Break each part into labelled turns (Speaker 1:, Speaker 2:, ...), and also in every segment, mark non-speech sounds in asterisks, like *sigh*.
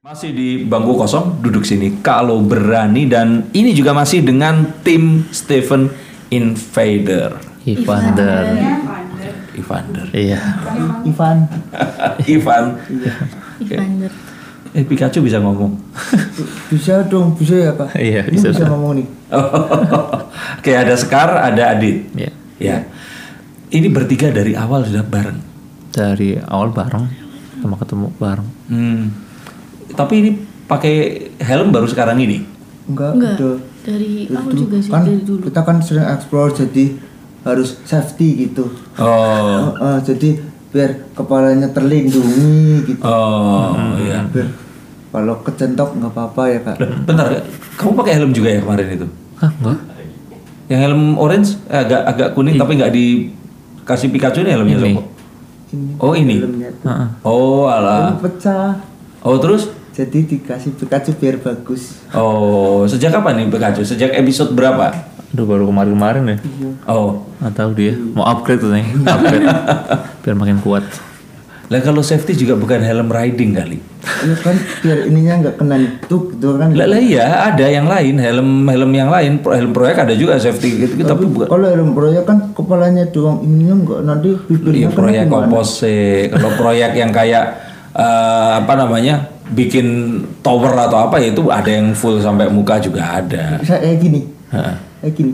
Speaker 1: Masih di bangku kosong, duduk sini kalau berani dan ini juga masih dengan tim Stephen Invader.
Speaker 2: Evander.
Speaker 1: Evander.
Speaker 2: Iya. Ivan.
Speaker 1: Ah, Ivan.
Speaker 3: Ivander.
Speaker 1: Eh Pikachu bisa *laughs* ngomong.
Speaker 4: Bisa dong, bisa ya Pak?
Speaker 2: Iya,
Speaker 4: Ini
Speaker 2: bisa,
Speaker 4: Bisa
Speaker 2: Pak.
Speaker 4: ngomong nih.
Speaker 1: Oke, ada Sekar, ada Adit.
Speaker 2: Iya.
Speaker 1: Ya. Ini bertiga dari awal sudah bareng.
Speaker 2: Dari awal bareng sama ketemu bareng.
Speaker 1: Hmm. Tapi ini pakai helm baru sekarang ini.
Speaker 4: Enggak,
Speaker 3: Enggak.
Speaker 4: udah.
Speaker 3: Dari
Speaker 4: Dari
Speaker 3: aku
Speaker 4: dulu.
Speaker 3: juga sih
Speaker 4: kan
Speaker 3: dari dulu.
Speaker 4: kita kan sering explore jadi harus safety gitu.
Speaker 1: Oh.
Speaker 4: Eh, eh, jadi biar kepalanya terlindungi gitu.
Speaker 1: Oh, iya.
Speaker 4: Biar kalau kecentok nggak apa-apa ya Kak.
Speaker 1: Loh, Bentar, kamu pakai helm juga ya kemarin itu?
Speaker 2: Hah, enggak?
Speaker 1: Yang helm orange eh, agak agak kuning tapi nggak dikasih Pikachu nih helmnya
Speaker 2: Ini.
Speaker 1: Sopo? Oh ini.
Speaker 4: Helmnya tuh.
Speaker 2: Heeh.
Speaker 1: Oh
Speaker 4: Helm
Speaker 1: alah.
Speaker 4: pecah.
Speaker 1: Oh terus?
Speaker 4: Jadi dikasih Pikachu biar bagus.
Speaker 1: Oh sejak kapan nih Pikachu? Sejak episode berapa?
Speaker 2: Aduh baru kemarin-kemarin ya.
Speaker 1: Oh.
Speaker 2: Nggak tahu dia mau upgrade tuh nih, *laughs* upgrade biar makin kuat.
Speaker 1: Lah kalau safety juga bukan helm riding kali.
Speaker 4: Iya kan biar ininya nggak kena tuk gitu kan.
Speaker 1: Lah lah iya ada yang lain helm helm yang lain pro- helm proyek ada juga safety gitu, tapi bukan
Speaker 4: Kalau helm proyek kan kepalanya doang ininya nggak nanti bibirnya
Speaker 1: Iya
Speaker 4: kena
Speaker 1: proyek
Speaker 4: gimana?
Speaker 1: kompose. Kalau proyek yang kayak eh, apa namanya bikin tower atau apa ya itu ada yang full sampai muka juga ada.
Speaker 4: Saya kayak gini.
Speaker 1: Heeh.
Speaker 4: Kayak gini.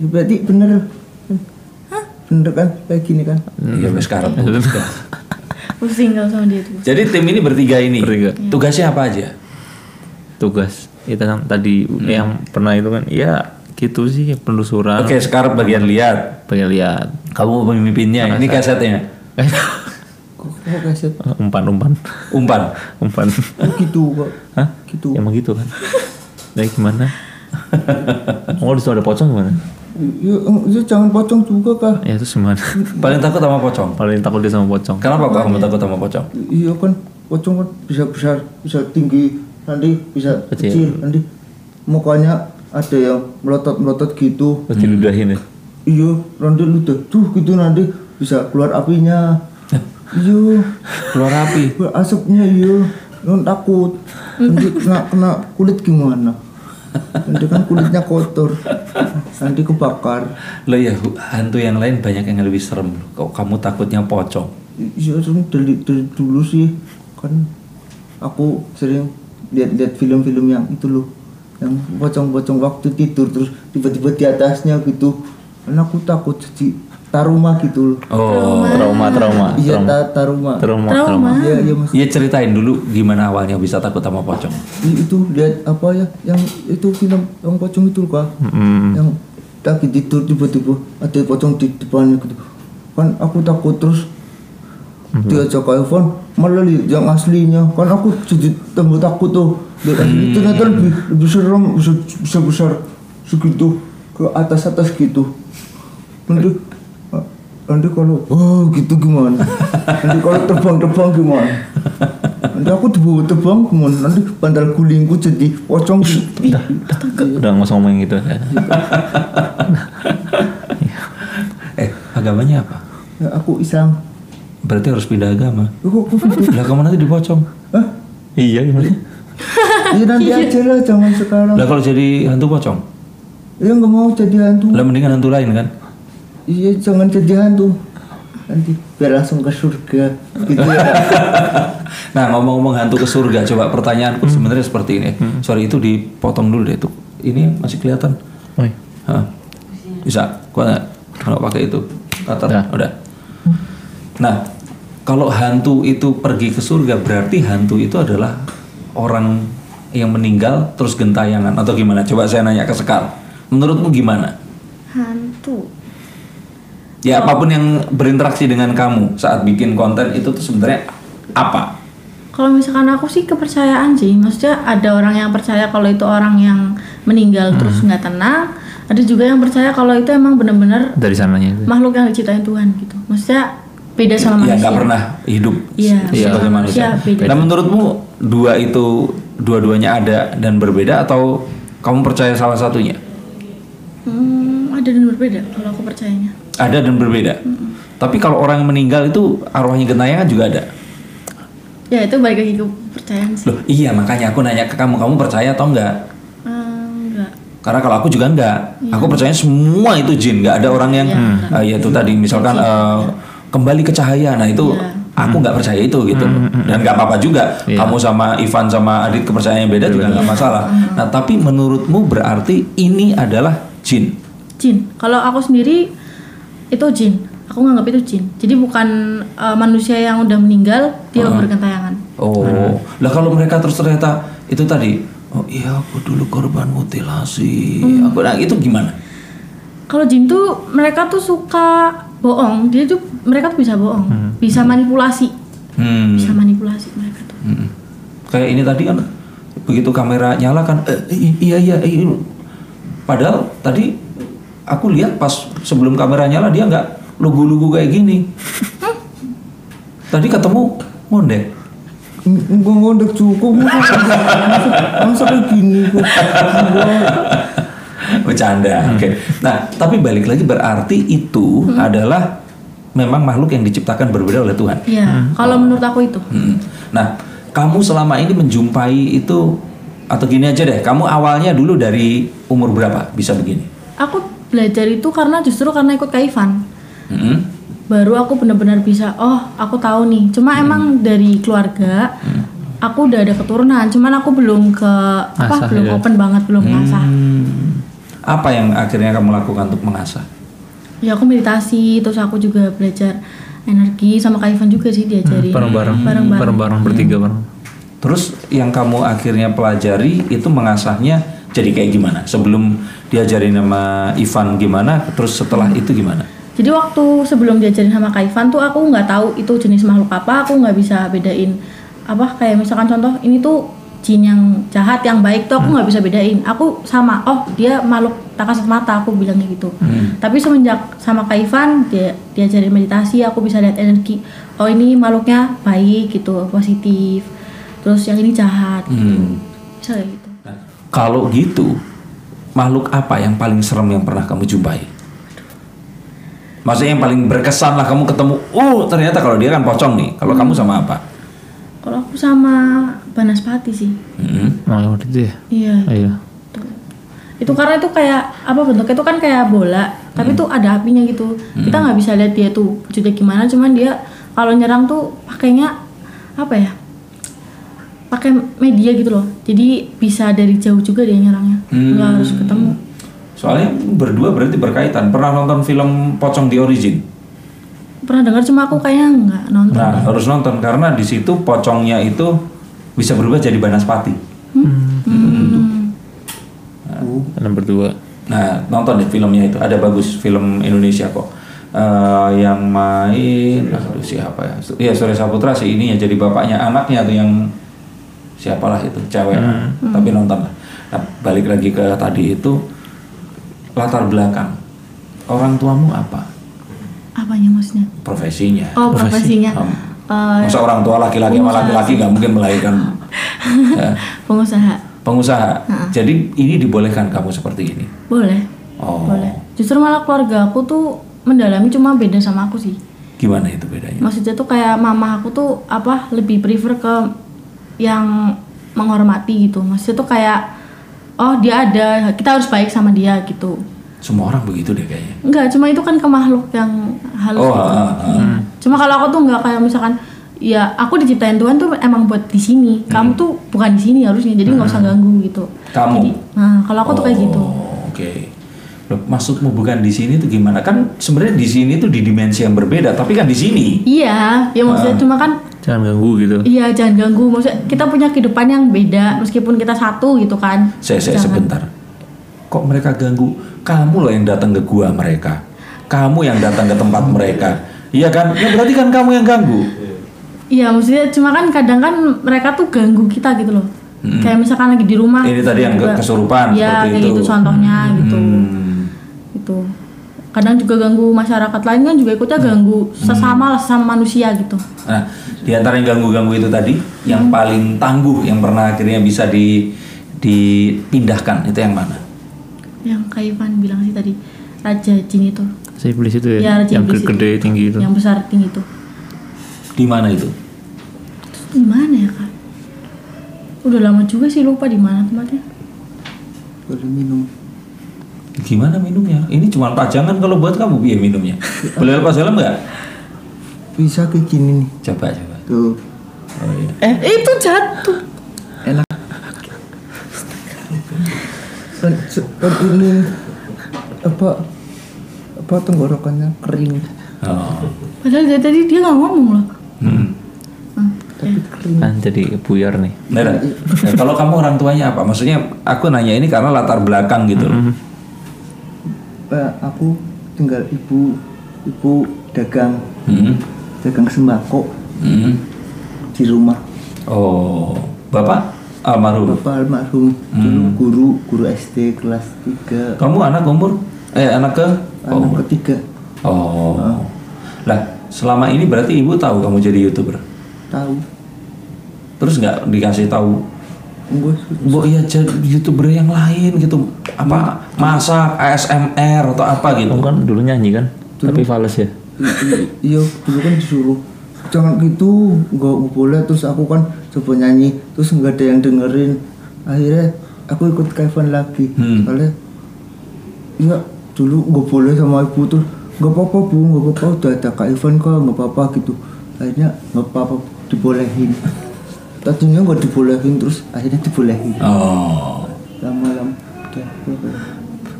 Speaker 4: Ya, berarti bener. Bener kan? Kayak gini kan?
Speaker 1: Iya wes karet.
Speaker 3: Pusing kalau sama dia tuh.
Speaker 1: Jadi tim ini bertiga ini.
Speaker 2: Bertiga.
Speaker 1: Tugasnya apa aja?
Speaker 2: Tugas itu yang tadi yang pernah itu kan, ya gitu sih penelusuran.
Speaker 1: Oke, sekarang bagian lihat.
Speaker 2: Pengen lihat Eh,
Speaker 1: Kamu pemimpinnya. Ini kasetnya.
Speaker 4: Kok kok kaset?
Speaker 2: *laughs* umpan-umpan,
Speaker 1: Umpan.
Speaker 2: umpan.
Speaker 4: Kok gitu kok?
Speaker 2: Hah?
Speaker 4: Gitu.
Speaker 2: Emang gitu kan? Jadi *laughs* gimana? Oh, disitu ada pocong gimana?
Speaker 4: Ya, eng- ya, jangan pocong juga kah?
Speaker 2: Ya terus gimana?
Speaker 1: Paling takut sama pocong.
Speaker 2: Paling takut dia sama pocong.
Speaker 1: Kenapa kok kamu takut sama pocong?
Speaker 4: Iya kan pocong kan bisa besar, bisa tinggi, nanti bisa
Speaker 2: Kecil.
Speaker 4: kecil, nanti mukanya ada yang melotot-melotot gitu.
Speaker 2: Terus diludahin ya.
Speaker 4: Iya, nanti lu tuh gitu nanti bisa keluar apinya. Iya,
Speaker 1: Keluar api.
Speaker 4: keluar asapnya iya. Non takut. Nanti kena kena kulit gimana? Nanti kan kulitnya kotor. Nanti kebakar.
Speaker 1: Loh ya, hu- hantu yang lain banyak yang lebih serem. Kok kamu takutnya pocong?
Speaker 4: Iya, sering dari, dari dulu sih kan aku sering lihat-lihat film-film yang itu loh yang pocong-pocong waktu tidur terus tiba-tiba di atasnya gitu karena aku takut jadi taruma gitu loh
Speaker 1: Oh.
Speaker 2: Trauma, trauma,
Speaker 4: iya
Speaker 2: trauma,
Speaker 4: ta- taruma
Speaker 2: trauma, trauma.
Speaker 3: Trauma.
Speaker 4: Iya, iya mas.
Speaker 1: Ya ceritain dulu gimana awalnya bisa takut sama pocong.
Speaker 4: I- Itu lihat apa ya? Yang itu film yang pocong itu kah?
Speaker 2: Mm-mm.
Speaker 4: Yang lagi tidur tiba-tiba ada pocong di depan gitu. Kan aku takut terus diajak ke iPhone malah lihat yang aslinya kan aku jadi tambah takut tuh lihat asli ternyata lebih lebih serem bisa bisa besar segitu ke atas atas gitu nanti nanti kalau oh gitu gimana nanti kalau terbang terbang gimana nanti aku dibawa terbang gimana nanti bantal gulingku jadi pocong
Speaker 2: Udah nggak usah ngomongin gitu. ya.
Speaker 1: Eh, agamanya apa?
Speaker 4: ya, aku Islam
Speaker 1: Berarti harus pindah agama.
Speaker 4: Ya, kok kok gitu
Speaker 1: Lah kamu nanti dipocong.
Speaker 4: Hah?
Speaker 2: Iya gimana?
Speaker 4: *laughs* ya nanti
Speaker 3: Iya.
Speaker 4: aja lah jangan sekarang
Speaker 1: Lah kalau jadi hantu pocong?
Speaker 4: ya nggak mau jadi hantu
Speaker 1: Lah mendingan hantu lain kan?
Speaker 4: Iya jangan jadi hantu nanti biar langsung ke surga gitu ya.
Speaker 1: *laughs* Nah ngomong-ngomong hantu ke surga, coba pertanyaanku sebenarnya seperti ini. Sorry itu dipotong dulu deh itu. Ini masih kelihatan.
Speaker 2: Oi.
Speaker 1: Hah. Bisa, kuat nggak? Kalau pakai itu, Cutter.
Speaker 2: Udah.
Speaker 1: udah. Nah, kalau hantu itu pergi ke surga, berarti hantu itu adalah orang yang meninggal terus gentayangan atau gimana? Coba saya nanya ke Sekar. Menurutmu gimana?
Speaker 3: Hantu.
Speaker 1: Ya apapun yang berinteraksi dengan kamu saat bikin konten itu tuh sebenarnya apa?
Speaker 3: Kalau misalkan aku sih kepercayaan sih, maksudnya ada orang yang percaya kalau itu orang yang meninggal terus nggak tenang, ada juga yang percaya kalau itu emang bener-bener
Speaker 2: Dari sananya itu.
Speaker 3: makhluk yang diciptain Tuhan gitu. Maksudnya beda sama
Speaker 1: Ya
Speaker 3: manusia.
Speaker 1: nggak pernah hidup
Speaker 3: Iya,
Speaker 1: sebagai
Speaker 3: sama
Speaker 1: manusia.
Speaker 3: manusia beda.
Speaker 1: Nah menurutmu dua itu dua-duanya ada dan berbeda atau kamu percaya salah satunya?
Speaker 3: Hmm, ada dan berbeda kalau aku percayanya.
Speaker 1: Ada dan berbeda. Tapi kalau orang yang meninggal itu arwahnya gentayangan juga ada.
Speaker 3: ya itu balik lagi ke kepercayaan sih
Speaker 1: Loh, iya makanya aku nanya ke kamu, kamu percaya atau enggak?
Speaker 3: Ehm, enggak
Speaker 1: Karena kalau aku juga enggak, aku percaya semua itu jin, enggak ada orang yang eh, ya itu tadi misalkan eh, kembali ke cahaya. Nah, itu aku enggak percaya itu gitu loh. Dan enggak apa-apa juga. Kamu sama Ivan sama Adit kepercayaan yang beda juga enggak masalah. Nah, tapi menurutmu berarti ini adalah jin.
Speaker 3: jin kalau aku sendiri itu jin aku nganggap itu jin jadi bukan eh, manusia yang udah meninggal dia bergentayangan
Speaker 1: Oh, lah kalau mereka terus ternyata itu tadi, oh iya aku dulu korban mutilasi. Aku nah itu gimana?
Speaker 3: kalau jin tuh mereka tuh suka bohong dia tuh mereka tuh bisa bohong
Speaker 2: Hmm.
Speaker 3: bisa manipulasi
Speaker 1: Hmm.
Speaker 3: bisa manipulasi mereka tuh
Speaker 2: Hmm.
Speaker 1: Mm-mm. Kayak ini tadi kan begitu kamera nyala kan, eh, i- iya iya iya. Padahal tadi aku lihat pas sebelum kamera nyala dia nggak lugu-lugu kayak gini. tadi ketemu mondek.
Speaker 4: Enggak ngondek cukup masa, masa kayak gini kok
Speaker 1: Bercanda. Oke. Nah, tapi balik lagi berarti itu adalah memang makhluk yang diciptakan berbeda oleh Tuhan.
Speaker 3: ya
Speaker 2: Hmm.
Speaker 3: kalau menurut aku itu
Speaker 1: Mm-mm. Nah, kamu selama ini menjumpai itu atau gini aja deh, kamu awalnya dulu dari umur berapa bisa begini?
Speaker 3: aku belajar itu karena justru karena ikut Kaifan
Speaker 1: Mm-mm.
Speaker 3: baru aku benar-benar bisa oh aku tahu nih cuma
Speaker 2: Hmm.
Speaker 3: emang dari keluarga aku udah ada keturunan cuman aku belum ke apa
Speaker 2: Asah
Speaker 3: belum
Speaker 2: ya.
Speaker 3: open banget belum ngasah
Speaker 1: Hmm. Apa yang akhirnya kamu lakukan untuk mengasah?
Speaker 3: ya aku meditasi terus aku juga belajar energi sama Kak Ivan juga sih diajari
Speaker 2: bareng-bareng
Speaker 3: Bareng-bareng.
Speaker 2: bareng-bareng bertiga bareng
Speaker 1: Terus yang kamu akhirnya pelajari itu mengasahnya jadi kayak gimana? Sebelum diajarin sama Ivan gimana, terus setelah itu gimana?
Speaker 3: jadi waktu sebelum diajarin sama Kak Ivan tuh aku nggak tahu itu jenis makhluk apa aku nggak bisa bedain apa kayak misalkan contoh ini tuh jin yang jahat yang baik tuh aku nggak bisa bedain aku sama oh dia makhluk tak kasat mata aku bilangnya gitu tapi semenjak sama Kak Ivan dia diajarin meditasi aku bisa lihat energi oh ini makhluknya baik gitu positif terus yang ini jahat
Speaker 1: Hmm.
Speaker 3: bisa kayak gitu
Speaker 1: Nah, Kalau gitu, makhluk apa yang paling serem yang pernah kamu jumpai? Maksudnya yang paling berkesan lah kamu ketemu, oh ternyata kalau dia kan pocong nih, kalau kamu sama apa?
Speaker 3: kalau aku sama Banaspati sih
Speaker 1: Hmm.
Speaker 2: malah waktu itu ya
Speaker 3: iya
Speaker 2: Ah, iya
Speaker 3: Tuh. itu karena itu kayak apa bentuknya itu kan kayak bola tapi
Speaker 1: Hmm.
Speaker 3: tuh ada apinya gitu kita nggak bisa lihat dia tuh wujudnya gimana cuman dia kalau nyerang tuh pakainya apa ya pakai media gitu loh jadi bisa dari jauh juga dia nyerangnya
Speaker 1: Hmm.
Speaker 3: nggak harus ketemu
Speaker 1: Soalnya berdua berarti berkaitan. Pernah nonton film Pocong di Origin?
Speaker 3: pernah dengar cuma aku kayaknya nggak nonton
Speaker 1: Nah, harus nonton karena di situ pocongnya itu bisa berubah jadi banaspati.
Speaker 3: Hmm.
Speaker 2: kalian berdua
Speaker 1: Nah, nonton deh filmnya itu. Ada bagus film Indonesia kok. Eh, yang main aduh, siapa ya? Su- Iya, Surya Saputra sih ini ya jadi bapaknya anaknya tuh yang siapalah itu, cewek. Tapi nonton lah. Nah, balik lagi ke tadi itu latar belakang. Orang tuamu apa?
Speaker 3: apanya maksudnya
Speaker 1: Profesinya.
Speaker 3: oh profesinya
Speaker 1: Hmm.
Speaker 3: Eh,
Speaker 1: Masa orang tua laki-laki sama laki-laki nggak mungkin melahirkan Ya.
Speaker 3: Eh, *laughs* pengusaha
Speaker 1: pengusaha. Jadi ini dibolehkan kamu seperti ini.
Speaker 3: boleh
Speaker 1: Oh,
Speaker 3: boleh justru malah keluarga aku tuh mendalami cuma beda sama aku sih
Speaker 1: gimana itu bedanya?
Speaker 3: maksudnya tuh kayak mama aku tuh apa lebih prefer ke yang menghormati gitu maksudnya tuh kayak oh dia ada kita harus baik sama dia gitu
Speaker 1: Semua orang begitu deh kayaknya.
Speaker 3: enggak cuma itu kan ke makhluk yang halus
Speaker 1: Oh,
Speaker 3: gitu.
Speaker 1: ah, ah, ah.
Speaker 3: cuma kalau aku tuh enggak kayak misalkan ya aku diciptain Tuhan tuh emang buat di
Speaker 1: Hmm.
Speaker 3: sini kamu tuh bukan di sini harusnya jadi nggak usah ganggu gitu
Speaker 1: Kamu?
Speaker 3: jadi nah kalau aku tuh kayak
Speaker 1: Hmm. Oh,
Speaker 3: gitu
Speaker 1: Oke. Loh, Maksudmu bukan di sini itu gimana? Kan sebenarnya di sini itu di dimensi yang berbeda, tapi kan di sini.
Speaker 3: iya ya maksudnya
Speaker 1: Ah.
Speaker 3: cuma kan
Speaker 2: jangan ganggu gitu
Speaker 3: Iya jangan ganggu maksudnya kita punya kehidupan yang beda meskipun kita satu gitu kan.
Speaker 1: Saya saya sebentar. Kok mereka ganggu? Kamu loh yang datang ke gua mereka. Kamu yang datang ke tempat mereka. Iya kan? Ya berarti kan kamu yang ganggu.
Speaker 3: Iya maksudnya cuma kan kadang kan mereka tuh ganggu kita gitu loh. Kayak misalkan lagi di rumah.
Speaker 1: Hmm. Ini tadi yang
Speaker 3: tiba-tiba-
Speaker 1: kesurupan,
Speaker 3: Iya
Speaker 1: seperti
Speaker 3: kayak
Speaker 1: itu.
Speaker 3: gitu contohnya gitu.
Speaker 1: Hmm.
Speaker 3: Gitu. Kadang juga ganggu masyarakat lain kan juga
Speaker 1: Hmm.
Speaker 3: ikutnya ganggu sesama lah sama manusia gitu.
Speaker 1: Nah, di antara yang ganggu-ganggu itu tadi, yang paling tangguh yang pernah akhirnya bisa di dipindahkan itu yang mana?
Speaker 3: Yang Kaivan bilang sih tadi raja jin itu
Speaker 2: saya beli situ ya,
Speaker 3: Iya, Raja
Speaker 2: yang
Speaker 1: Gitu.
Speaker 3: Iblis
Speaker 2: gede,
Speaker 3: itu.
Speaker 2: tinggi itu
Speaker 3: yang besar tinggi itu.
Speaker 1: Di mana itu?
Speaker 3: Itu di mana ya kak? Udah lama juga sih lupa di mana tempatnya.
Speaker 4: Baru minum.
Speaker 1: Gimana minumnya? Ini cuma pajangan kalau buat kamu biar minumnya. Boleh lepas helm nggak?
Speaker 4: Bisa kayak gini nih.
Speaker 1: Coba coba.
Speaker 4: Tuh.
Speaker 1: Oh, iya.
Speaker 3: Eh, itu jatuh.
Speaker 4: Enak. Kan, se- kan ini apa apa tenggorokannya kering
Speaker 1: Oh.
Speaker 3: Padahal dari tadi dia nggak ngomong loh.
Speaker 1: Hmm.
Speaker 3: Hmm.
Speaker 2: kan jadi buyar nih
Speaker 1: Bener. Nah, kalau kamu orang tuanya apa? Maksudnya aku nanya ini karena latar belakang gitu loh.
Speaker 4: Eh, aku tinggal ibu ibu dagang
Speaker 1: Hmm.
Speaker 4: dagang sembako
Speaker 1: Hmm.
Speaker 4: di rumah
Speaker 1: Oh, bapak almarhum.
Speaker 4: bapak almarhum dulu guru guru SD kelas 3
Speaker 1: Kamu anak umur? Eh anak ke?
Speaker 4: anak ketiga
Speaker 1: Oh. Lah, selama ini berarti ibu tahu kamu jadi youtuber.
Speaker 4: tahu
Speaker 1: Terus nggak dikasih tahu?
Speaker 4: gue
Speaker 1: Bu ya jadi youtuber yang lain gitu. Apa masak ASMR atau apa gitu?
Speaker 2: kamu kan dulu nyanyi kan tapi fals ya
Speaker 4: iya dulu kan disuruh jangan gitu nggak boleh terus aku kan coba nyanyi terus nggak ada yang dengerin akhirnya aku ikut Kevin lagi
Speaker 1: Hmm.
Speaker 4: soalnya iya dulu nggak boleh sama ibu terus nggak apa-apa bu nggak apa-apa udah ada Kevin kok nggak apa-apa gitu akhirnya nggak apa-apa dibolehin tadinya nggak dibolehin terus akhirnya dibolehin
Speaker 1: Oh.
Speaker 4: lama-lama udah boleh.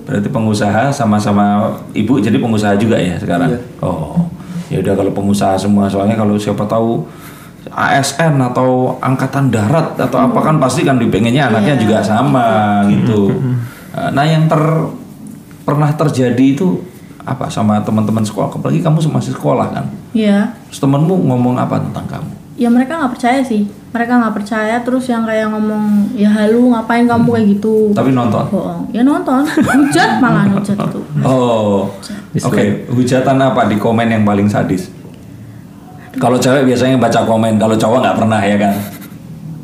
Speaker 1: Berarti pengusaha sama-sama ibu jadi pengusaha juga ya sekarang.
Speaker 4: Iya.
Speaker 1: Oh. Ya udah kalau pengusaha semua soalnya kalau siapa tahu ASN atau angkatan darat atau apa kan pasti kan dipengennya anaknya juga sama gitu. Nah, yang ter pernah terjadi itu apa sama teman-teman sekolah apalagi kamu masih sekolah kan.
Speaker 3: Iya.
Speaker 1: Terus temanmu ngomong apa tentang kamu?
Speaker 3: Ya mereka nggak percaya sih. Mereka nggak percaya terus yang kayak ngomong ya halu ngapain kamu kayak
Speaker 4: Hmm.
Speaker 3: gitu.
Speaker 1: Tapi nonton.
Speaker 3: Bohong. Ya nonton. *laughs* Hujat malah hujat itu.
Speaker 1: Oh. Oke, hujatan apa di komen yang paling sadis? Kalau cewek biasanya baca komen, kalau cowok nggak pernah ya kan?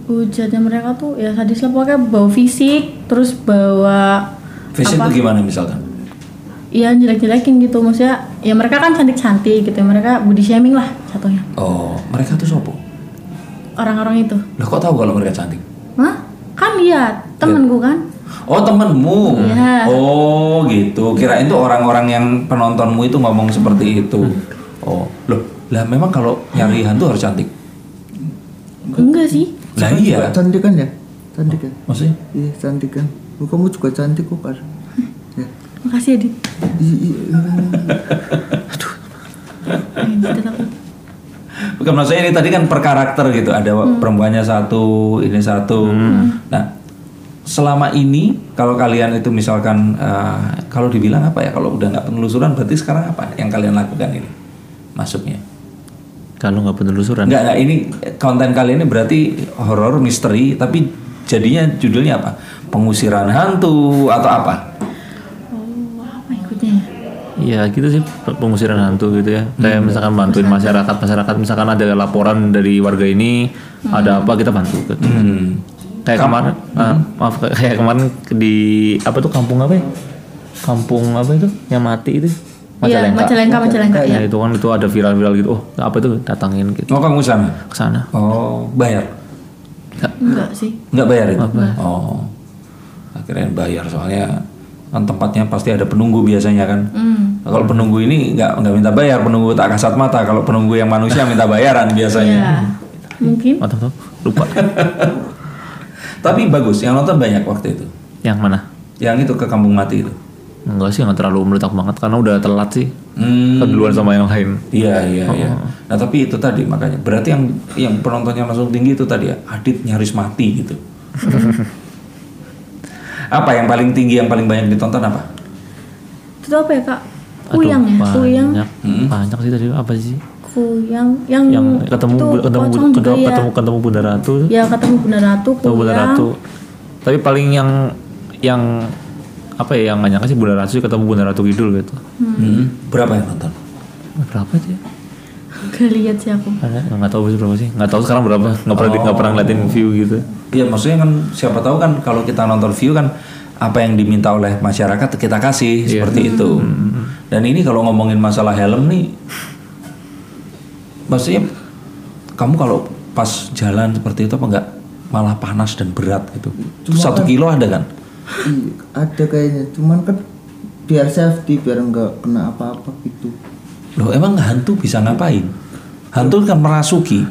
Speaker 3: Hujatnya mereka tuh ya sadis lah pokoknya bawa fisik terus bawa
Speaker 1: Fashion itu gimana misalkan?
Speaker 3: ya jelek-jelekin gitu maksudnya ya mereka kan cantik-cantik gitu mereka body shaming lah jatuhnya
Speaker 1: Oh, mereka tuh sopo.
Speaker 3: orang-orang itu
Speaker 1: Lah kok tahu kalau mereka cantik?
Speaker 3: Hah? Kan lihat temenku kan
Speaker 1: Oh temenmu.
Speaker 3: Iya.
Speaker 1: Oh gitu. Kirain tuh orang-orang yang penontonmu itu ngomong seperti itu. Oh, loh, lah memang kalau nyari hantu harus cantik.
Speaker 3: Enggak sih
Speaker 1: Lah iya.
Speaker 4: cantik kan ya cantik kan
Speaker 1: Maksudnya?
Speaker 4: iya cantik kan Oh, kamu juga cantik kok kan ya
Speaker 3: Makasih Adit
Speaker 4: Iya, iya, iya.
Speaker 3: Pengen deket aku.
Speaker 1: Bukan maksudnya ini tadi kan per karakter gitu. Ada perempuannya satu, ini satu. Nah, selama ini kalau kalian itu misalkan eh, kalau dibilang apa ya? Kalau udah nggak penelusuran berarti sekarang apa yang kalian lakukan ini? Masuknya.
Speaker 2: kalau nggak penelusuran
Speaker 1: Nggak, nggak, ini konten kali ini berarti horor misteri tapi jadinya judulnya apa? Pengusiran hantu atau apa?
Speaker 3: Oh apa ikutnya ya
Speaker 2: Iya gitu sih pengusiran hantu gitu ya. Kayak misalkan bantuin masyarakat masyarakat misalkan ada laporan dari warga ini ada apa kita bantu. Gitu.
Speaker 1: Hmm.
Speaker 2: Kayak kemarin ah,
Speaker 3: Hmm.
Speaker 2: maaf *laughs* kayak kemarin di apa tuh kampung apa ya? Kampung apa itu yang mati itu?
Speaker 3: Iya
Speaker 2: Majalengka.
Speaker 3: Majalengka Majalengka
Speaker 2: Ya,
Speaker 3: iya
Speaker 2: itu kan itu ada viral-viral gitu. Oh, apa itu datangin gitu
Speaker 1: Oh, kamu sana?
Speaker 2: ke sana.
Speaker 1: Oh, bayar.
Speaker 3: Enggak sih
Speaker 1: Nggak bayar itu? Oh. Akhirnya bayar soalnya kan tempatnya pasti ada penunggu biasanya kan.
Speaker 3: Hmm
Speaker 1: Nah, Kalau penunggu ini nggak nggak minta bayar, penunggu tak kasat mata. Kalau penunggu yang manusia minta bayaran biasanya.
Speaker 3: Iya Mungkin
Speaker 2: Oh, tahu, tahu.
Speaker 3: *laughs*
Speaker 2: lupa.
Speaker 1: Tapi bagus, yang nonton banyak waktu itu.
Speaker 2: yang mana?
Speaker 1: Yang itu ke kampung mati itu.
Speaker 2: Enggak sih, enggak terlalu meledak banget karena udah telat sih.
Speaker 1: Hmm.
Speaker 2: Keduluan sama yang lain.
Speaker 1: Iya iya iya. Nah tapi itu tadi makanya berarti yang yang penontonnya langsung tinggi itu tadi ya Adit nyaris mati *laughs* gitu. apa yang paling tinggi yang paling banyak ditonton apa?
Speaker 3: Itu apa ya kak? Kuyang ya Kuyang
Speaker 2: Banyak, banyak sih tadi apa sih?
Speaker 3: Kuyang Yang
Speaker 2: yang ketemu
Speaker 3: Hmm, itu
Speaker 2: ketemu
Speaker 3: pocong juga
Speaker 2: ketemu
Speaker 3: ya.
Speaker 2: ketemu, ketemu Bunda Ratu
Speaker 3: Ya ketemu Bunda Ratu
Speaker 2: ketemu Bunda
Speaker 3: Kuyang.
Speaker 2: Ratu tapi paling yang yang apa ya yang nggak nyangka sih Bunda Ratu sih ketemu Bunda Ratu Kidul gitu
Speaker 1: Hmm, Berapa yang nonton?
Speaker 2: berapa ya? sih
Speaker 3: *laughs* Gak lihat sih aku
Speaker 2: ada nggak tahu sih berapa sih nggak tahu sekarang berapa nggak pernah nggak pernah ngeliatin view gitu
Speaker 1: Iya maksudnya kan siapa tahu kan kalau kita nonton view kan apa yang diminta oleh masyarakat kita kasih seperti itu. Dan ini kalau ngomongin masalah helm nih, maksudnya kamu kalau pas jalan seperti itu apa enggak malah panas dan berat gitu Terus satu kilo ada kan
Speaker 4: Iya, ada kayaknya cuman kan biar safety biar nggak kena apa-apa gitu
Speaker 1: loh emang hantu bisa ngapain hantu kan merasuki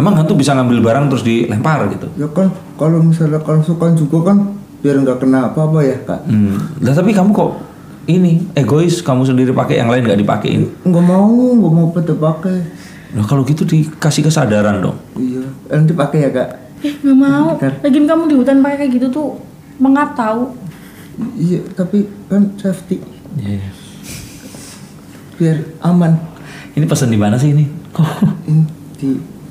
Speaker 1: emang hantu bisa ngambil barang terus dilempar gitu
Speaker 4: ya kan kalau misalnya kalau suka juga kan biar nggak kena apa-apa ya kak
Speaker 1: hmm. Lah, tapi kamu kok ini egois kamu sendiri pakai yang lain nggak dipakein
Speaker 4: nggak mau nggak mau pada pakai
Speaker 1: Nah kalau gitu dikasih kesadaran dong.
Speaker 4: iya eh, nanti pakai ya kak
Speaker 3: eh nggak mau lagian kamu di hutan pakai kayak gitu tuh mengap tahu
Speaker 4: iya tapi kan safety biar aman
Speaker 1: Ini pesan di mana sih ini?
Speaker 4: Ini di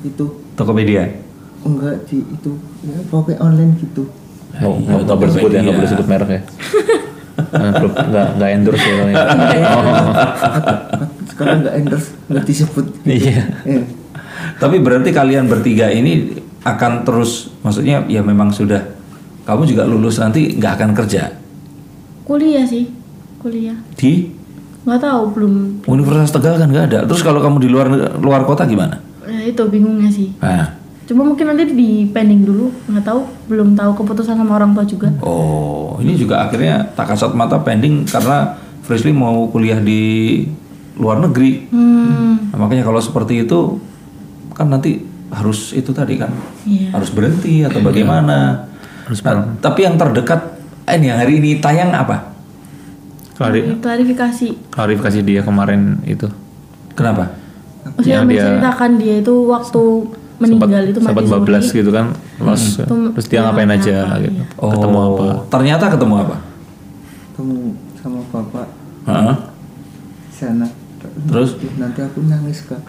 Speaker 4: itu
Speaker 1: Tokopedia.
Speaker 4: enggak di itu ya pokoknya online gitu
Speaker 2: Oh, nggak nggak boleh sebut ya, nggak boleh sebut merek *laughs* ya. Nah, belum- Nggak nggak endorse ya. kalau ini.
Speaker 4: sekarang nggak endorse nggak disebut
Speaker 2: Iya.
Speaker 4: Eh,
Speaker 1: Tapi berarti kalian bertiga ini akan terus, maksudnya ya memang sudah. Kamu juga lulus nanti nggak akan kerja
Speaker 3: kuliah sih kuliah
Speaker 1: di
Speaker 3: nggak tahu belum
Speaker 1: Universitas Tegal kan nggak ada. Terus kalau kamu di luar luar kota gimana?
Speaker 3: ya itu bingungnya sih
Speaker 1: Nah,
Speaker 3: cuma mungkin nanti di pending dulu nggak tahu belum tahu keputusan sama orang tua juga
Speaker 1: oh ini juga akhirnya tak kasat mata pending karena Frisley mau kuliah di luar negeri.
Speaker 3: hmm
Speaker 1: Nah, makanya kalau seperti itu kan nanti harus itu tadi kan
Speaker 3: iya
Speaker 1: harus berhenti atau bagaimana?
Speaker 2: Harus
Speaker 1: Nah, tapi yang terdekat eh, ini yang hari ini tayang apa?
Speaker 2: Klari-
Speaker 3: Nah, klarifikasi
Speaker 2: klarifikasi dia kemarin itu
Speaker 1: Kenapa?
Speaker 3: maksudnya menceritakan dia itu waktu meninggal itu mati
Speaker 2: sempat
Speaker 3: suri.
Speaker 2: bablas gitu kan terus terus dia ngapain aja gitu ketemu apa
Speaker 1: Oh, Ternyata ketemu apa?
Speaker 4: ketemu sama bapak
Speaker 1: Heeh.
Speaker 4: di sana
Speaker 1: Terus?
Speaker 4: nanti aku nangis kak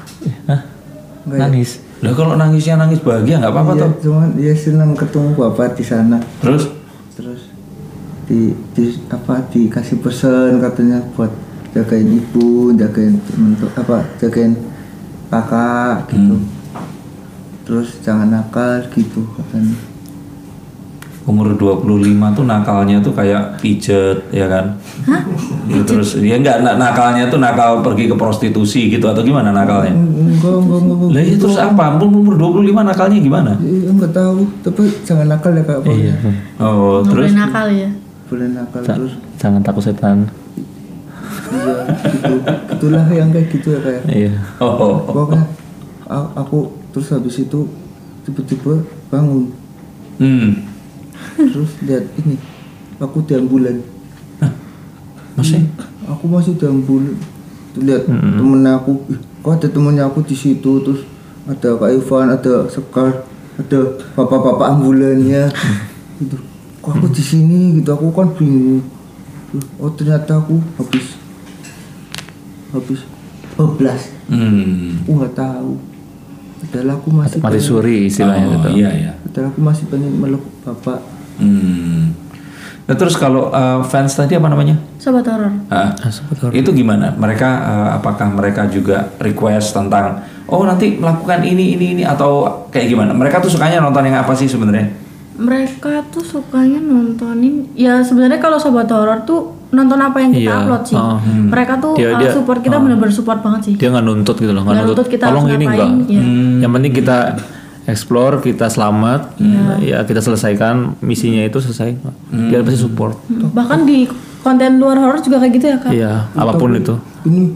Speaker 4: Nggak ya?
Speaker 2: nangis
Speaker 1: Lah kalau nangisnya nangis bahagia nggak apa-apa
Speaker 4: Iya,
Speaker 1: tuh.
Speaker 4: cuman ya senang ketemu bapak di sana
Speaker 1: Terus
Speaker 4: terus di, di apa dikasih pesan katanya buat jagain ibu jagain temen tu- apa jagain kakak gitu terus jangan nakal gitu katanya
Speaker 1: umur 25 tuh nakalnya tuh kayak pijet ya kan? Ya, terus dia nggak na- nakalnya tuh nakal pergi ke prostitusi gitu atau gimana nakalnya?
Speaker 4: enggak enggak enggak enggak
Speaker 1: Lah ya terus apa? Umur 25 nakalnya gimana?
Speaker 4: Iya, enggak tahu tapi jangan nakal ya kak pokoknya.
Speaker 1: Oh,
Speaker 3: Nggak boleh
Speaker 1: terus
Speaker 3: nakal ya
Speaker 4: boleh nakal terus
Speaker 2: jangan takut setan
Speaker 4: iya gitu itulah yang kayak gitu ya kayak
Speaker 2: iya
Speaker 1: oh, oh, oh.
Speaker 4: pokoknya kan a- aku terus habis itu tiba-tiba bangun
Speaker 1: Hmm.
Speaker 4: terus lihat ini aku di ambulan
Speaker 1: Masih?
Speaker 4: aku masih di ambulan Tuh lihat temen aku ih, kok ada temennya aku di situ terus ada kak Ivan ada Sekar ada bapak-bapak ambulannya gitu kok aku di sini gitu aku kan bingung Duh, oh ternyata aku habis habis bablas
Speaker 1: Hmm.
Speaker 4: aku nggak tahu padahal aku masih
Speaker 2: mati
Speaker 4: pengen,
Speaker 2: suri istilahnya
Speaker 1: Oh,
Speaker 2: gitu
Speaker 1: iya ya.
Speaker 4: padahal aku masih pengen meluk bapak
Speaker 1: Hmm. Nah, terus kalau eh, fans tadi apa namanya?
Speaker 3: sobat horor
Speaker 1: Ah,
Speaker 2: Oh.
Speaker 1: itu gimana? Mereka eh, apakah mereka juga request tentang oh nanti melakukan ini ini ini atau kayak gimana? Mereka tuh sukanya nonton yang apa sih sebenarnya?
Speaker 3: mereka tuh sukanya nontonin ya sebenarnya kalau sobat horor tuh nonton apa yang kita
Speaker 2: Iya.
Speaker 3: upload sih
Speaker 2: Oh,
Speaker 3: mereka tuh
Speaker 2: Dia-
Speaker 3: uh,
Speaker 2: dia- oh.
Speaker 3: support kita bener-bener support banget sih
Speaker 2: dia nggak nuntut gitu loh
Speaker 3: Nggak
Speaker 2: nggak
Speaker 3: nuntut
Speaker 2: nuntut
Speaker 3: kita
Speaker 2: tolong
Speaker 3: harus
Speaker 2: ini
Speaker 3: ngapain,
Speaker 2: enggak
Speaker 3: iya.
Speaker 2: yang penting kita explore kita selamat
Speaker 3: Iya.
Speaker 2: ya kita selesaikan misinya itu selesai dia pasti support
Speaker 3: Hmm. bahkan di konten luar horor juga kayak gitu ya kak
Speaker 2: iya apapun itu
Speaker 4: ini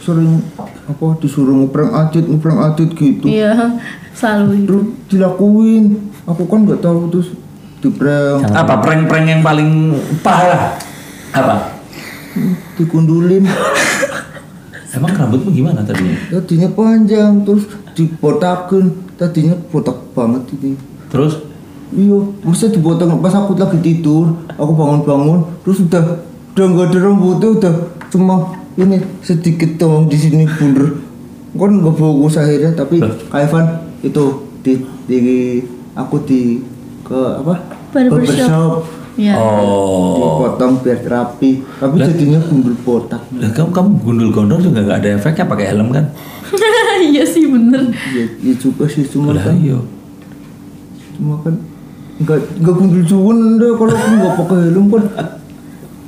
Speaker 4: sering apa disuruh ngeprank adit ngeprank adit gitu
Speaker 3: iya *laughs* selalu
Speaker 4: terus dilakuin aku kan nggak tahu terus di prank
Speaker 1: Apa prank-prank yang paling parah? Apa?
Speaker 4: dikundulin
Speaker 1: Emang rambutmu gimana tadinya?
Speaker 4: tadinya panjang terus dibotakin tadinya botak banget ini
Speaker 1: Terus
Speaker 4: iya masa dipotong pas aku lagi tidur aku bangun-bangun terus udah udah nggak ada rambutnya udah cuma ini sedikit doang di sini bunder kan nggak bagus akhirnya tapi Kaivan itu di, di aku di ke apa
Speaker 3: Barbershop. ya
Speaker 1: oh
Speaker 4: dipotong biar rapi tapi jadinya gundul botak
Speaker 1: Lah, kamu kamu gundul gondor juga nggak ada efeknya pakai helm kan?
Speaker 3: *laughs* iya sih bener
Speaker 4: ya, ya juga sih cuma
Speaker 1: Lah
Speaker 4: kan
Speaker 1: iya.
Speaker 4: cuma kan nggak nggak gundul cuman deh kalau aku nggak pakai helm kan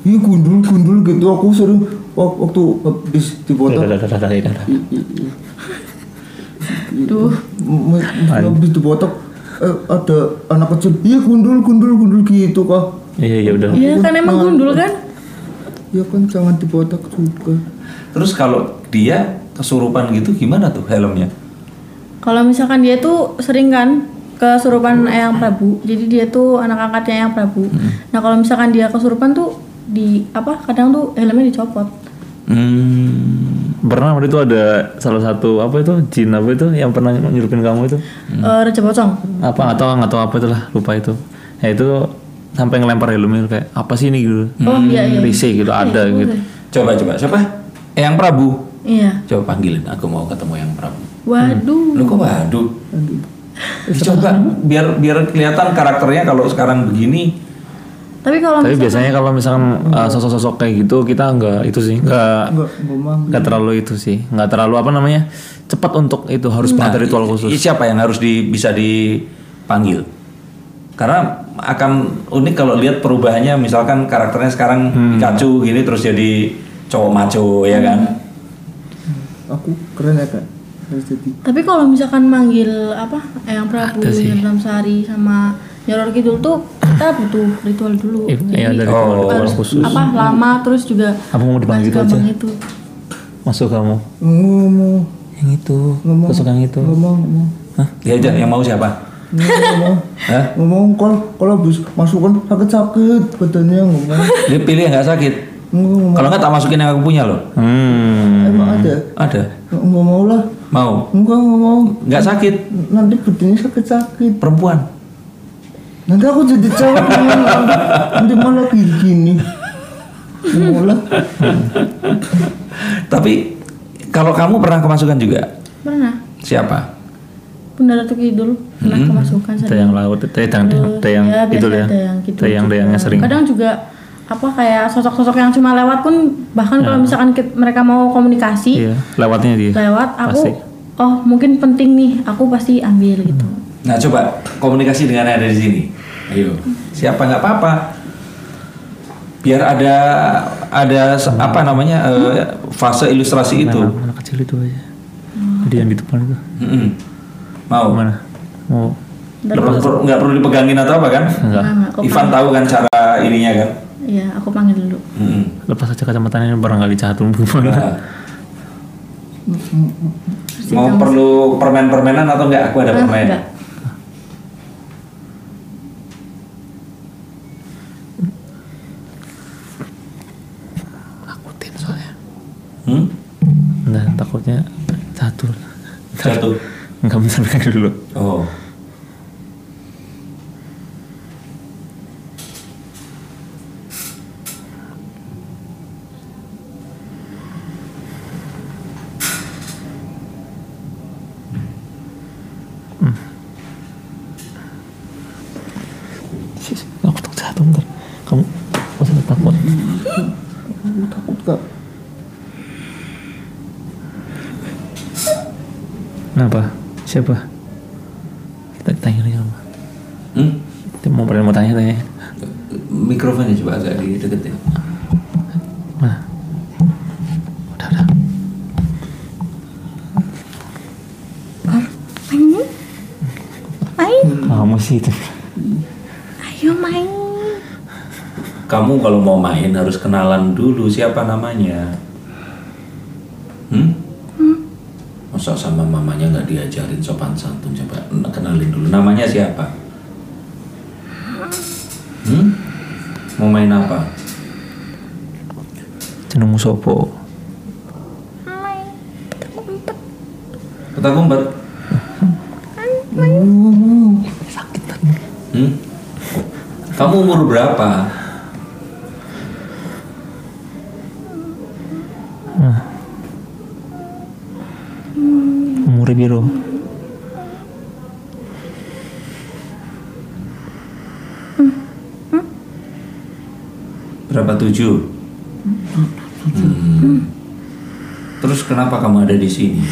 Speaker 4: iya gundul gundul gitu aku sering wak- waktu habis dipotong
Speaker 2: Dadah, dadah, dadah, dadah.
Speaker 4: i- i- i-
Speaker 3: Duh.
Speaker 4: M- m- habis dipotok eh, ada anak kecil iya gundul gundul gundul gitu kah
Speaker 2: Iya ya udah.
Speaker 3: Iya kan emang gundul kan?
Speaker 4: ya kan jangan dipotok juga
Speaker 1: Terus kalau dia kesurupan gitu gimana tuh helmnya?
Speaker 3: Kalau misalkan dia tuh sering kan
Speaker 2: Hmm.
Speaker 3: kesurupan Eyang Prabu. Jadi dia tuh anak angkatnya Eyang Prabu. Nah, kalau misalkan dia kesurupan tuh di apa? Kadang tuh helmnya dicopot.
Speaker 1: Hmm.
Speaker 2: Pernah waktu itu ada salah satu apa itu jin apa itu yang pernah nyurupin kamu itu
Speaker 3: Eh, Raja Pocong.
Speaker 2: apa atau nggak tahu apa itulah lupa itu. Ya itu sampai ngelempar helmnya kayak apa sih ini gitu.
Speaker 3: Oh iya iya.
Speaker 2: Risih gitu ada gitu.
Speaker 1: Coba coba siapa? Eyang Prabu.
Speaker 3: Iya.
Speaker 2: Hmm.
Speaker 1: Coba panggilin, aku mau ketemu Eyang Prabu.
Speaker 3: Waduh.
Speaker 1: Lu kok waduh. Coba biar biar kelihatan karakternya kalau sekarang begini.
Speaker 3: Tapi kalau
Speaker 2: Tapi biasanya kalau misalkan uh, sosok-sosok kayak gitu kita nggak itu sih nggak
Speaker 4: enggak enggak mau
Speaker 2: nggak terlalu itu sih nggak terlalu apa namanya cepat untuk itu harus pakai ritual khusus.
Speaker 1: i- Siapa yang harus di, bisa dipanggil? Karena akan unik kalau lihat perubahannya misalkan karakternya sekarang Pikachu gini terus jadi cowok maco ya kan.
Speaker 4: aku keren ya kak harus jadi
Speaker 3: Tapi kalau misalkan manggil apa Eyang Prabu, Dalam Sari sama Nyoror Kidul tuh kita butuh ritual dulu.
Speaker 2: Iya dari
Speaker 1: Oh.
Speaker 2: ritual
Speaker 3: Harus
Speaker 2: khusus.
Speaker 3: apa lama terus juga
Speaker 2: Apa mau dipanggil gitu aja?
Speaker 3: gampang itu.
Speaker 2: Masuk kamu.
Speaker 4: ngomong
Speaker 2: Yang itu,
Speaker 4: Ngomong.
Speaker 2: tusuk yang itu.
Speaker 4: ngomong ngomong
Speaker 1: Dia aja Iya, yang mau siapa?
Speaker 4: ngomong
Speaker 1: Hah?
Speaker 4: ngomong kalau kalau habis masukkan sakit sakit badannya ngomong
Speaker 1: Dia pilih yang nggak sakit.
Speaker 4: ngomong
Speaker 1: Kalau nggak tak masukin yang aku punya loh.
Speaker 2: Hmm.
Speaker 4: emang ada
Speaker 1: Ada.
Speaker 4: nggak mau lah
Speaker 1: Mau.
Speaker 4: enggak ngomong
Speaker 1: Nggak sakit.
Speaker 4: nanti badannya sakit sakit
Speaker 1: Perempuan.
Speaker 4: nanti aku jadi cowok ngomong. nanti malah gini gini mulai
Speaker 1: Tapi kalau kamu pernah kemasukan juga
Speaker 3: Pernah.
Speaker 1: siapa?
Speaker 3: Bunda Ratu Kidul pernah kemasukan
Speaker 2: Hmm. Ada yang laut, ada yang ada yang
Speaker 3: Ya,
Speaker 2: itu
Speaker 3: biasanya
Speaker 2: ya.
Speaker 3: ada yang gitu
Speaker 2: Ada yang ada yang sering.
Speaker 3: Kadang juga apa kayak sosok-sosok yang cuma lewat pun bahkan kalau misalkan kit- mereka mau komunikasi
Speaker 2: Iya, lewatnya dia.
Speaker 3: lewat aku
Speaker 2: Pasti.
Speaker 3: oh mungkin penting nih aku pasti ambil gitu.
Speaker 1: Nah coba komunikasi dengan yang ada di sini. Ayo. Siapa nggak apa-apa. Biar ada ada se- apa namanya eh, fase ilustrasi itu.
Speaker 2: Anak kecil itu aja. Dia yang di depan itu.
Speaker 1: Mm-mm. Mau.
Speaker 2: Mana? Mau.
Speaker 1: Lepas- per- Nggak perlu dipegangin atau apa kan?
Speaker 2: Enggak.
Speaker 3: Nah, nggak, aku
Speaker 1: Ivan
Speaker 3: panggil.
Speaker 1: tahu kan cara ininya kan.
Speaker 3: Iya, aku panggil dulu.
Speaker 1: Mm-mm.
Speaker 2: Lepas aja kacamatanya barangkali jahat lumpuh
Speaker 1: Nah.
Speaker 2: gimana.
Speaker 1: Mau perlu permen-permenan atau nggak? Aku ada
Speaker 3: Ah,
Speaker 1: permen.
Speaker 3: enggak.
Speaker 2: Takutin soalnya.
Speaker 1: Hmm?
Speaker 2: Nah, takutnya satu.
Speaker 1: Satu.
Speaker 2: Enggak bentar bentar dulu.
Speaker 1: Oh.
Speaker 2: Sis, Aku takut satu bentar. Kamu masih takut.
Speaker 4: aku takut kak
Speaker 2: Kenapa? Siapa? Kita tanya nih sama.
Speaker 1: Hmm?
Speaker 2: Dia mau pada mau tanya tanya.
Speaker 1: Mikrofonnya coba agak dideketin.
Speaker 2: Mana? Udah udah.
Speaker 3: Main. Main.
Speaker 2: Kamu sih itu.
Speaker 3: Ayo main.
Speaker 1: Kamu kalau mau main harus kenalan dulu siapa namanya. Hmm? Masa sama mamanya nggak diajarin sopan santun coba n- kenalin dulu namanya siapa? Hmm? Mau main apa?
Speaker 2: Jenengmu sopo?
Speaker 1: Kita kumpet. Hmm? Kamu umur berapa?
Speaker 2: Umur biru.
Speaker 1: Berapa tujuh? Hmm. Terus kenapa kamu ada di sini?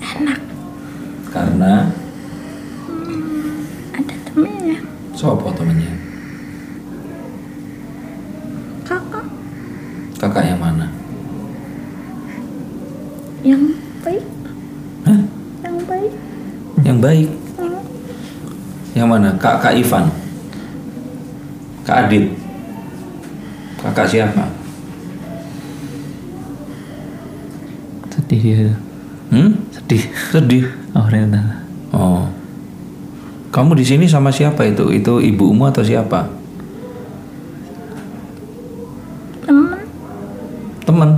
Speaker 1: Enak. Karena
Speaker 3: Ada temennya.
Speaker 1: siapa temennya?
Speaker 3: Kakak.
Speaker 1: Kakak yang mana?
Speaker 5: yang baik
Speaker 1: Hah?
Speaker 5: yang baik
Speaker 1: Yang baik. Yang mana? Kak Kak Ivan. Kak Adit. Kakak siapa?
Speaker 2: Sedih dia.
Speaker 1: Hmm?
Speaker 2: Sedih.
Speaker 1: Sedih.
Speaker 2: Oh, Renata.
Speaker 1: Oh. Kamu di sini sama siapa itu? Itu ibumu atau siapa?
Speaker 5: teman
Speaker 1: Teman.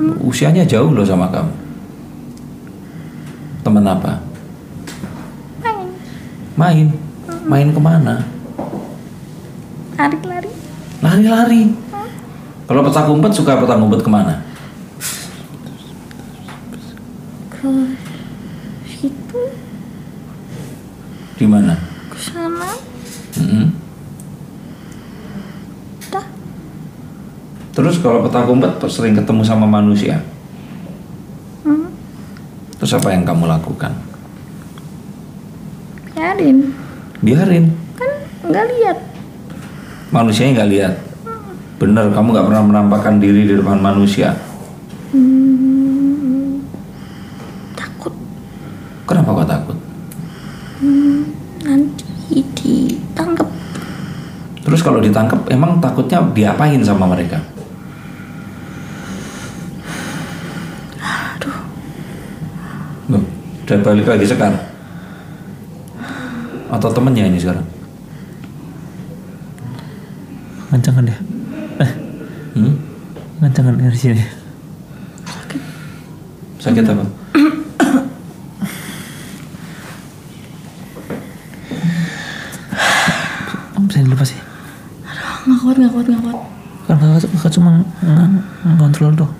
Speaker 5: Hmm.
Speaker 1: Usianya jauh loh sama kamu. Teman apa?
Speaker 5: main Hmm.
Speaker 1: Main. Main kemana?
Speaker 5: lari-lari
Speaker 1: Lari-lari.
Speaker 5: Hmm.
Speaker 1: Kalau petak umpet suka petak umpet kemana?
Speaker 5: ke situ
Speaker 1: Di mana?
Speaker 5: ke sana
Speaker 1: Mm-mm.
Speaker 5: dah
Speaker 1: Terus kalau petak umpet sering ketemu sama manusia.
Speaker 5: hmm,
Speaker 1: Terus apa yang kamu lakukan?
Speaker 5: biarin
Speaker 1: Biarin.
Speaker 5: kan nggak lihat
Speaker 1: Manusianya nggak lihat. Bener, kamu nggak pernah menampakkan diri di depan manusia.
Speaker 5: Hmm, takut
Speaker 1: Kenapa kau takut?
Speaker 5: Hmm, nanti ditangkap
Speaker 1: Terus kalau ditangkap, emang takutnya diapain sama mereka? Aduh. Loh, udah balik lagi sekarang? Atau temennya ini sekarang?
Speaker 2: Kencangan dia. Eh,
Speaker 1: Hmm?
Speaker 2: kencangan dari sini.
Speaker 1: Sakit apa?
Speaker 2: Kamu bisa dilepas sih.
Speaker 3: nggak kuat nggak kuat nggak kuat
Speaker 2: Kan kakak, kakak cuma ng- ngontrol doang.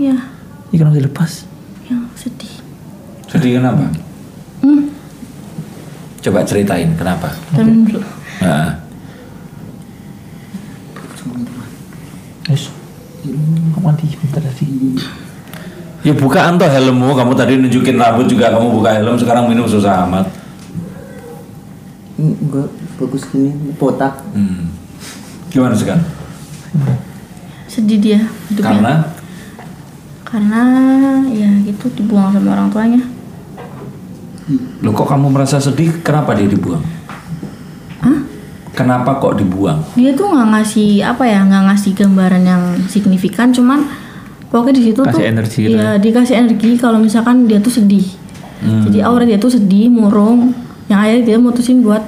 Speaker 3: ya
Speaker 2: Ini kenapa dilepas?
Speaker 3: yang sedih
Speaker 1: Sedih kenapa?
Speaker 3: hmm.
Speaker 1: Coba ceritain kenapa?
Speaker 3: dan dulu
Speaker 1: Nah,
Speaker 2: Yes. Kamu kan diem tadi.
Speaker 1: ya bukaan toh helmmu, kamu tadi nunjukin rambut juga kamu buka helm, sekarang minum susah amat.
Speaker 4: Hmm, enggak bagus ini botak
Speaker 1: Hmm. Gimana sekarang?
Speaker 3: sedih dia hidupnya.
Speaker 1: Karena
Speaker 3: karena ya gitu dibuang sama orang tuanya
Speaker 1: Loh kok kamu merasa sedih? Kenapa dia dibuang?
Speaker 3: Hah?
Speaker 1: Kenapa kok dibuang?
Speaker 3: dia tuh nggak ngasih apa ya nggak ngasih gambaran yang signifikan cuman pokoknya di situ
Speaker 2: Kasih
Speaker 3: tuh
Speaker 2: energi gitu
Speaker 3: iya, dikasih energi kalau misalkan dia tuh sedih
Speaker 2: Hmm.
Speaker 3: jadi aura dia tuh sedih murung yang akhirnya dia mutusin buat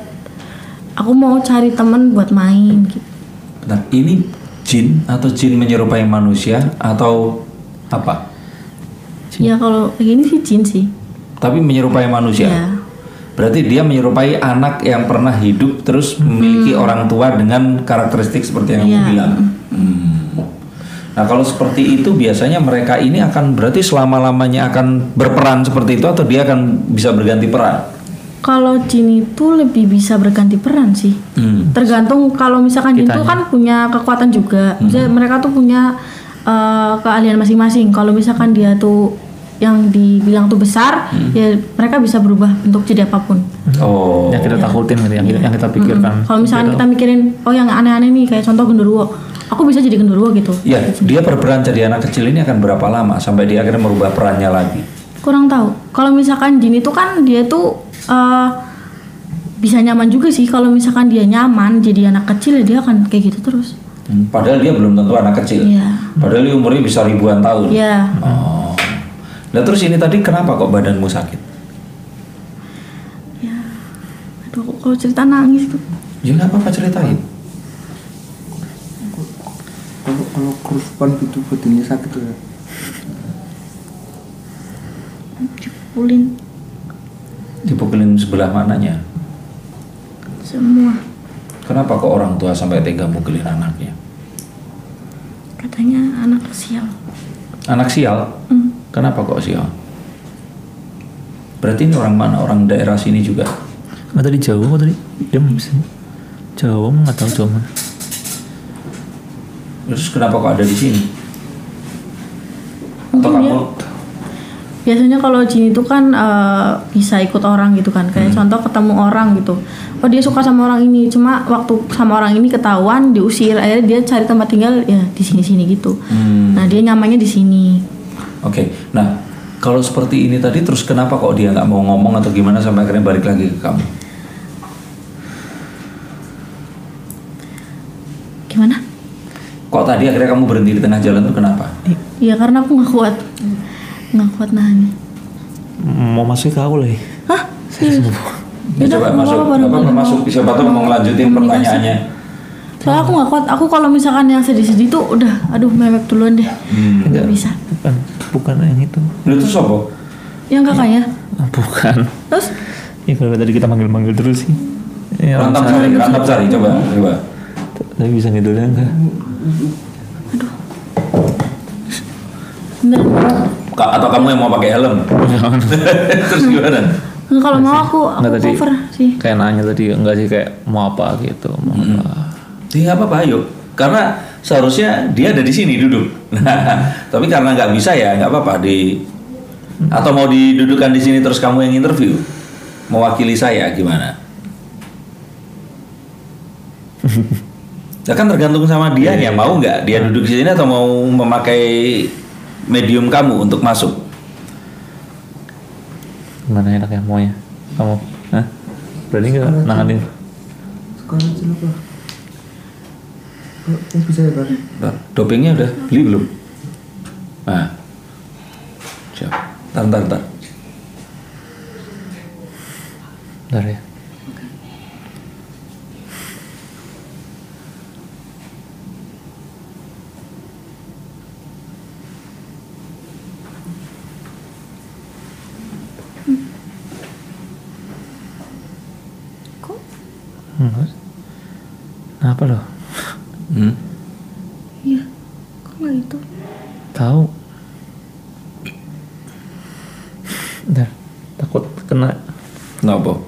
Speaker 3: aku mau cari temen buat main gitu
Speaker 1: Nah, ini jin atau jin menyerupai manusia atau apa?
Speaker 3: ya kalau kayak gini sih jin sih
Speaker 1: Tapi menyerupai
Speaker 2: Ya.
Speaker 1: manusia.
Speaker 3: Iya.
Speaker 1: Berarti dia menyerupai anak yang pernah hidup terus memiliki orang tua dengan karakteristik seperti yang kamu
Speaker 3: Hmm. Iya.
Speaker 1: bilang. Hmm. Nah, kalau seperti itu biasanya mereka ini akan berarti selama-lamanya akan berperan seperti itu atau dia akan bisa berganti peran?
Speaker 3: kalau jin itu lebih bisa berganti peran sih
Speaker 1: Hmm.
Speaker 3: tergantung kalau misalkan jin itu
Speaker 2: Kitanya.
Speaker 3: kan punya kekuatan juga Misalnya mereka tuh punya eh, keahlian masing-masing kalau misalkan dia tuh yang dibilang tuh besar ya mereka bisa berubah bentuk jadi apapun
Speaker 1: Oh.
Speaker 2: Yang kita takutin gitu, yang kita, yang kita pikirkan.
Speaker 3: kalau misalkan kita mikirin oh yang aneh-aneh nih kayak contoh genderuwo aku bisa jadi genderuwo gitu
Speaker 1: Ya, dia berperan jadi anak kecil ini akan berapa lama sampai dia akhirnya merubah perannya lagi?
Speaker 3: kurang tahu kalau misalkan jin itu kan dia tuh eh, bisa nyaman juga sih kalau misalkan dia nyaman jadi anak kecil ya dia akan kayak gitu terus
Speaker 1: Hmm, Padahal dia belum tentu anak kecil.
Speaker 3: Iya.
Speaker 1: Padahal dia umurnya bisa ribuan tahun.
Speaker 3: ya
Speaker 1: Oh. Nah, terus ini tadi kenapa kok badanmu sakit?
Speaker 3: ya aduh aku kalau cerita nangis tuh
Speaker 1: Ya nggak apa-apa ceritain.
Speaker 4: kalau kalau kuruskan gitu badannya sakit ya
Speaker 5: pulin
Speaker 1: Dipukulin sebelah mananya.
Speaker 5: semua
Speaker 1: Kenapa kok orang tua sampai tega mukulin anaknya?
Speaker 5: katanya anak sial
Speaker 1: Anak sial.
Speaker 5: Hmm,
Speaker 1: Kenapa kok sial? Berarti ini orang mana? Orang daerah sini juga.
Speaker 2: Nggak tadi jauh kok tadi? Dia bisa. Jawa nggak tahu Jawa mana.
Speaker 1: Terus kenapa kok ada di sini? Atau
Speaker 3: Mungkin dia-
Speaker 1: kamu?
Speaker 3: biasanya kalau jin itu kan eh, bisa ikut orang gitu kan kayak
Speaker 1: Hmm.
Speaker 3: contoh ketemu orang gitu oh dia suka sama orang ini cuma waktu sama orang ini ketahuan diusir akhirnya dia cari tempat tinggal ya di sini sini gitu
Speaker 1: Hmm.
Speaker 3: nah dia nyamannya di sini
Speaker 1: Oke, nah Kalau seperti ini tadi, terus kenapa kok dia nggak mau ngomong atau gimana sampai akhirnya balik lagi ke kamu?
Speaker 5: Gimana?
Speaker 1: Kok tadi akhirnya kamu berhenti di tengah jalan tuh kenapa?
Speaker 3: Iya karena aku nggak kuat, nggak kuat nahan.
Speaker 2: mau masuk ke ya? aku lagi
Speaker 3: Hah? Serius?
Speaker 1: Ya,
Speaker 3: Yaudah,
Speaker 1: coba masuk, nggak
Speaker 3: nggak apa-apa, nggak
Speaker 1: apa-apa
Speaker 3: apa-apa.
Speaker 1: masuk. Siapa tahu mau ngelanjutin
Speaker 3: Komunikasi.
Speaker 1: pertanyaannya.
Speaker 3: Soalnya aku nggak kuat. Aku kalau misalkan yang sedih-sedih tuh udah, aduh mewek duluan deh.
Speaker 1: Hmm.
Speaker 3: Nggak bisa.
Speaker 2: bukan bukan yang itu
Speaker 1: Lu tuh sopo?
Speaker 3: Yang kakaknya.
Speaker 2: Ah, bukan
Speaker 3: ya. Terus
Speaker 2: ya kalau tadi kita manggil manggil terus sih ya,
Speaker 1: Rantap sari, rantap sari, coba, coba.
Speaker 2: tapi bisa ngidulnya enggak
Speaker 3: bener.
Speaker 1: Ka- atau kamu yang mau pakai helm?
Speaker 3: Ya,
Speaker 1: *laughs* terus gimana?
Speaker 3: Nggak, kalau mau aku, aku
Speaker 2: Nggak, tadi-
Speaker 3: cover sih.
Speaker 2: kayak nanya tadi enggak sih kayak mau apa gitu mau apa
Speaker 1: Iya apa apa ayo. Karena seharusnya dia ada di sini duduk. *laughs* Nah, tapi karena nggak bisa ya nggak apa-apa di atau mau didudukan di sini terus kamu yang interview mewakili saya gimana? Ya kan tergantung sama dia ya mau nggak dia duduk di sini atau mau memakai medium kamu untuk masuk.
Speaker 2: gimana enak ya maunya kamu Hah? berani nggak nanganin
Speaker 4: Sekarang silakan. Kok kok bisa ya kan?
Speaker 1: Bentar, Dopingnya udah beli belum? Nah, siap. Ntar, ntar, ntar.
Speaker 2: bentar ya
Speaker 5: Kok
Speaker 2: Enggak. Kenapa loh?
Speaker 1: Hmm.
Speaker 5: Iya, kok nggak gitu?
Speaker 2: Tahu? Bentar, takut kena.
Speaker 1: Kenapa?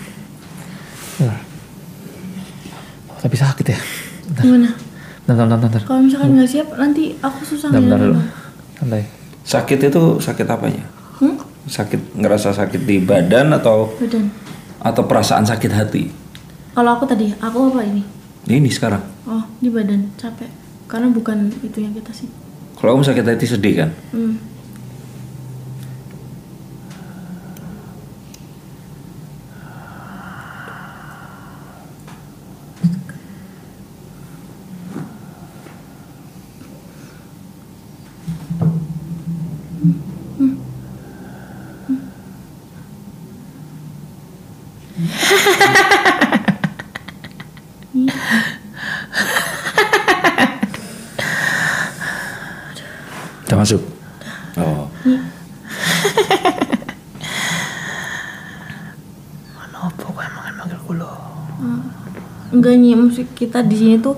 Speaker 2: Bentar. Oh, Hmm. tapi sakit ya. Bentar,
Speaker 3: Gimana?
Speaker 2: bentar, bentar, bentar.
Speaker 3: Kalau misalkan nggak siap, nanti aku susah
Speaker 2: Bentar, bentar
Speaker 3: ngeliatin.
Speaker 2: dulu. Santai.
Speaker 1: Sakit itu sakit apanya?
Speaker 3: Hmm?
Speaker 1: Sakit ngerasa sakit di badan atau
Speaker 3: Badan.
Speaker 1: atau perasaan sakit hati?
Speaker 3: Kalau aku tadi, aku apa ini?
Speaker 1: Ini sekarang.
Speaker 3: Oh, di badan capek. Karena bukan itu yang kita sih.
Speaker 1: Kalau kamu sakit hati sedih kan?
Speaker 3: Hmm.
Speaker 1: Udah masuk. Oh.
Speaker 2: Kenapa kok emang manggil gue lo?
Speaker 3: Hmm. Enggak Nyi. Maksud kita di sini tuh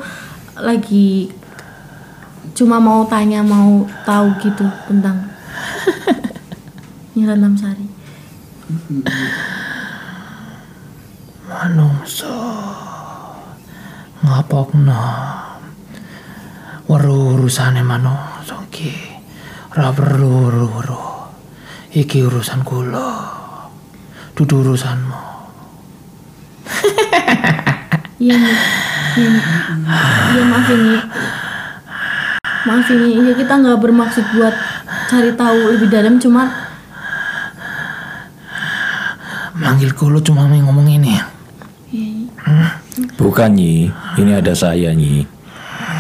Speaker 3: lagi cuma mau tanya, mau tahu gitu tentang Nyi Ratnam Sari.
Speaker 2: Manungso. Ngapokno. Weru urusane manungso ki. Ora perlu weru-weru. Iki urusan kula. Dudu urusanmu.
Speaker 3: Iya Nyi. Iya Nyi. Iya maaf ya, Nyi. Maaf ya, Nyi. Iya kita nggak bermaksud buat cari tahu lebih dalam, cuma
Speaker 2: Manggil kula cuma mau ngomong ini.
Speaker 3: iya Nyi.
Speaker 1: Bukan Nyi, ini ada saya Nyi.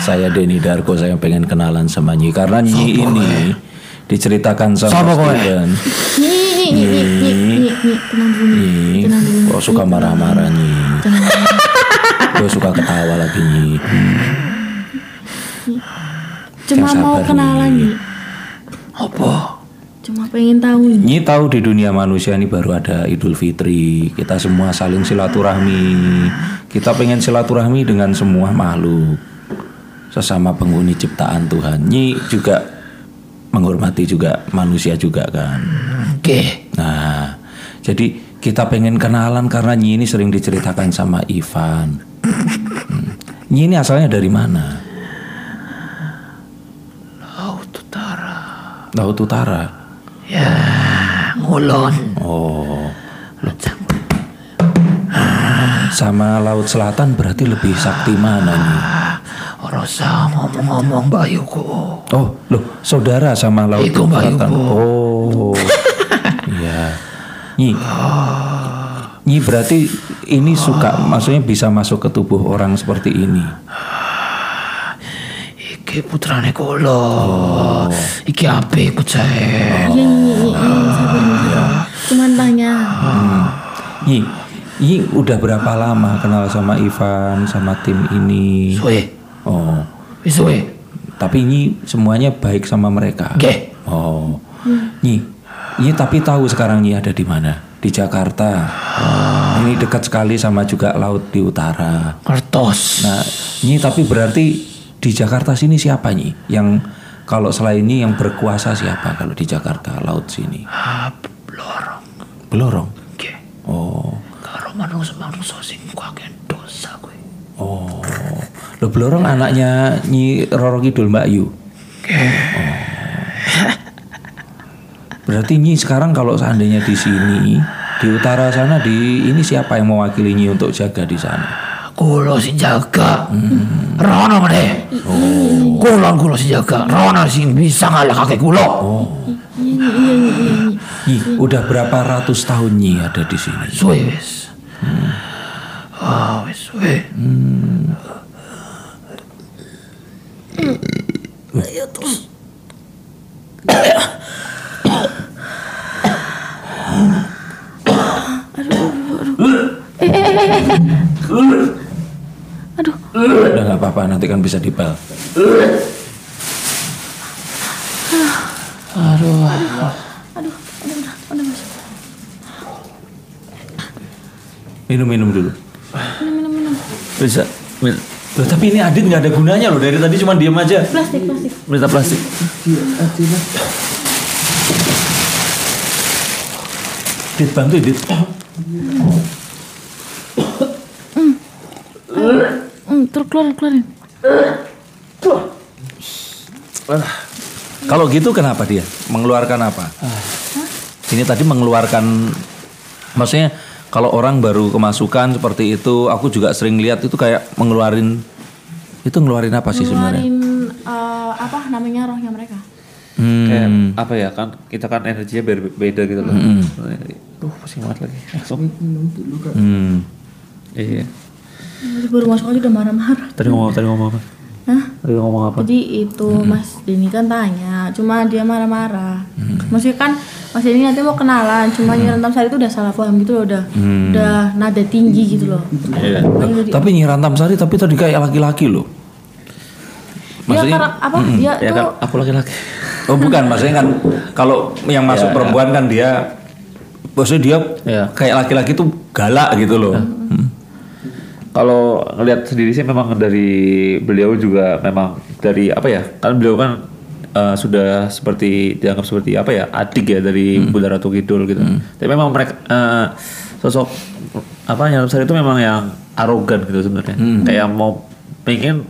Speaker 1: Saya Denny Darko, saya pengen kenalan sama Nyi karena Nyi ini diceritakan sama
Speaker 2: Sopo kowe?
Speaker 1: Steven.
Speaker 3: Nyi, Nyi, Nyi, Nyi, Nyi, Nyi, Nyi, tenang dulu Nyi.
Speaker 1: Nyi,
Speaker 3: Tenang dulu.
Speaker 1: kok suka marah-marah Nyi?
Speaker 3: Jangan marah.
Speaker 1: Gue suka ketawa lagi Nyi.
Speaker 3: Cuma
Speaker 1: Yang
Speaker 3: mau
Speaker 1: sabar,
Speaker 3: kenalan,
Speaker 1: Nyi.
Speaker 3: Nyi.
Speaker 2: Apa?
Speaker 3: Cuma pengen tahu, Nyi.
Speaker 1: Nyi tahu di dunia manusia ini baru ada Idul Fitri. Kita semua saling silaturahmi. Kita pengen silaturahmi dengan semua makhluk. Sesama penghuni ciptaan Tuhan. Nyi juga menghormati juga manusia juga kan.
Speaker 4: Oke.
Speaker 1: Nah, jadi kita pengen kenalan karena Nyini sering diceritakan sama Ivan. Hmm. Nyini asalnya dari mana? Laut Utara. Ya, Ngulon. Oh. Sama Laut Selatan berarti lebih sakti mana nih?
Speaker 6: Rosa ngomong-ngomong bayuku.
Speaker 1: Oh, loh, saudara sama Laut
Speaker 6: Itu Mbak
Speaker 1: Selatan.
Speaker 6: Yubo.
Speaker 1: Oh. Iya. Nyi. Nyi berarti ini suka maksudnya bisa masuk ke tubuh orang seperti ini.
Speaker 6: Iki putrane kula. Iki apik bocah.
Speaker 3: Iya, iya, iya, iya, sabar, sabar. Cuman tanya.
Speaker 1: Nyi, Nyi udah berapa lama kenal sama Ivan sama tim ini?
Speaker 6: Suwe,
Speaker 1: Oh.
Speaker 6: wis suwe.
Speaker 1: Tapi Nyi semuanya baik sama mereka.
Speaker 6: Nggih.
Speaker 1: Oh. Nyi, Nyi tapi tahu sekarang Nyi ada di mana? Di Jakarta. Ini dekat sekali sama juga laut di utara.
Speaker 6: Kertos.
Speaker 1: Nah, Nyi tapi berarti di Jakarta sini siapa Nyi? Yang kalau selain Nyi yang berkuasa siapa kalau di Jakarta laut sini?
Speaker 6: Ah, lorong.
Speaker 1: Belorong.
Speaker 6: Nggih.
Speaker 1: Oh.
Speaker 6: Karo manungsa-manungsa sing kakean dosa kuwi.
Speaker 1: Oh. Lo Belorong anaknya Nyi Roro Kidul Mbak Yu. Oh. Berarti Nyi sekarang kalau seandainya di sini, di utara sana di ini siapa yang mewakili Nyi untuk jaga di sana?
Speaker 6: Kula sing jaga. Rono meneh. Kula kula sing jaga. Rono sing bisa ngalahake kula.
Speaker 3: Iya, iya, iya, iya, iya.
Speaker 1: Nyi, udah berapa ratus tahun Nyi ada di sini?
Speaker 6: Suwe wis. Ah, wis suwe.
Speaker 5: Eh, eh, eh, eh, eh. Aduh,
Speaker 1: Udah nggak apa-apa, nanti kan bisa dibal.
Speaker 5: aduh, udah, udah, udah mas.
Speaker 1: Minum-minum dulu.
Speaker 5: Minum, minum, minum.
Speaker 2: Bisa. Min-
Speaker 1: Loh, tapi ini Adit nggak ada gunanya loh, dari tadi cuma diem aja.
Speaker 5: Plastik, plastik.
Speaker 2: Berita plastik.
Speaker 1: Dit, bantu Dit.
Speaker 5: Hmm, terus keluar, keluarin.
Speaker 1: Kalau gitu kenapa dia? Mengeluarkan apa? Ini tadi mengeluarkan, maksudnya kalau orang baru kemasukan seperti itu, aku juga sering lihat itu kayak mengeluarin, itu ngeluarin apa sih sebenarnya?
Speaker 3: Ngeluarin eh, apa namanya rohnya mereka.
Speaker 1: Hmm.
Speaker 2: Kayak apa ya kan kita kan energinya ber- beda gitu loh. Duh pusing banget lagi. Langsung.
Speaker 1: hmm.
Speaker 2: Iya.
Speaker 3: Terus baru masuk aja udah marah-marah.
Speaker 2: Tadi ngomong tadi ngomong apa?
Speaker 3: Hah?
Speaker 2: Tadi ngomong apa?
Speaker 3: Jadi itu Mas Dini kan tanya, cuma dia marah-marah. Maksudnya kan Mas Dini nanti mau kenalan, cuma Nyi Rentam Sari itu udah salah paham gitu loh, udah udah nada tinggi gitu loh.
Speaker 2: Iya.
Speaker 1: Loh, Tapi nyirantam sari tapi tadi kayak laki-laki loh.
Speaker 3: Dia karak apa? Dia
Speaker 2: Ya
Speaker 3: tuh
Speaker 2: kan aku laki-laki.
Speaker 1: Oh bukan, maksudnya kan kalau yang masuk perempuan kan dia, maksudnya dia
Speaker 2: Iya.
Speaker 1: kayak laki-laki tuh galak gitu loh. Hmm.
Speaker 2: Kalau ngelihat sendiri sih memang dari beliau juga memang dari apa ya? Kan beliau kan eh, sudah seperti dianggap seperti apa ya? Adik ya dari Bunda Ratu Kidul gitu. Tapi memang mereka eh, sosok apa yang besar itu memang yang arogan gitu sebenarnya. Kayak mau pengen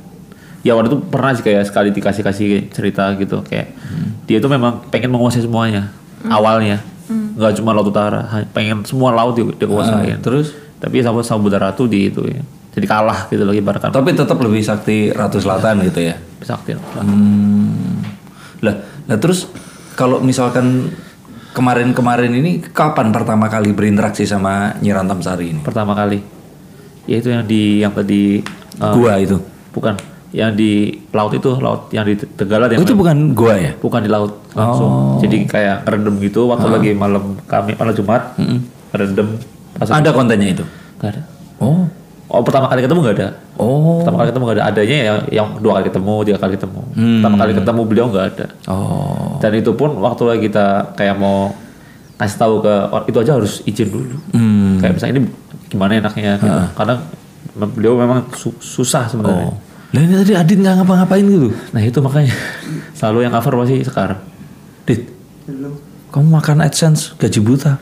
Speaker 2: ya waktu itu pernah sih kayak sekali dikasih kasih cerita gitu kayak
Speaker 1: Hmm.
Speaker 2: dia itu memang pengen menguasai semuanya awalnya nggak cuma laut utara ha- pengen semua laut dia, dia
Speaker 1: Ah,
Speaker 2: kuasain terus tapi sama sama Buddha Ratu di itu ya jadi kalah gitu lagi ibaratkan
Speaker 1: Tapi tetap lebih sakti Ratu Selatan gitu ya.
Speaker 2: sakti
Speaker 1: Hmm. Lah, lah terus kalau misalkan kemarin-kemarin ini kapan pertama kali berinteraksi sama Nyi Rantam Sari ini?
Speaker 2: pertama kali yaitu yang di yang tadi eh,
Speaker 1: Gua itu.
Speaker 2: bukan yang di laut itu laut yang di Tegalat yang
Speaker 1: Oh, itu bukan gua ya? Oh.
Speaker 2: bukan di laut langsung jadi kayak rendem gitu waktu
Speaker 1: Ah.
Speaker 2: lagi malam kami malam Jumat rendem pas
Speaker 1: Ada kontennya itu.
Speaker 2: nggak ada
Speaker 1: Oh.
Speaker 2: oh pertama kali ketemu nggak ada
Speaker 1: Oh.
Speaker 2: pertama kali ketemu nggak ada adanya yang, yang dua kali ketemu tiga kali ketemu pertama kali ketemu beliau nggak ada
Speaker 1: Hmm. Oh.
Speaker 2: dan itu pun waktu lagi kita kayak mau kasih tahu ke orang itu aja harus izin dulu
Speaker 1: Hmm.
Speaker 2: kayak misalnya ini gimana enaknya gitu. kadang mem- beliau memang su- susah sebenarnya
Speaker 1: Oh. Lah ini tadi Adit nggak
Speaker 2: *laughs*
Speaker 1: ngapa-ngapain gitu.
Speaker 2: nah itu makanya selalu yang cover pasti sekarang
Speaker 1: Dit. kamu makan AdSense gaji buta.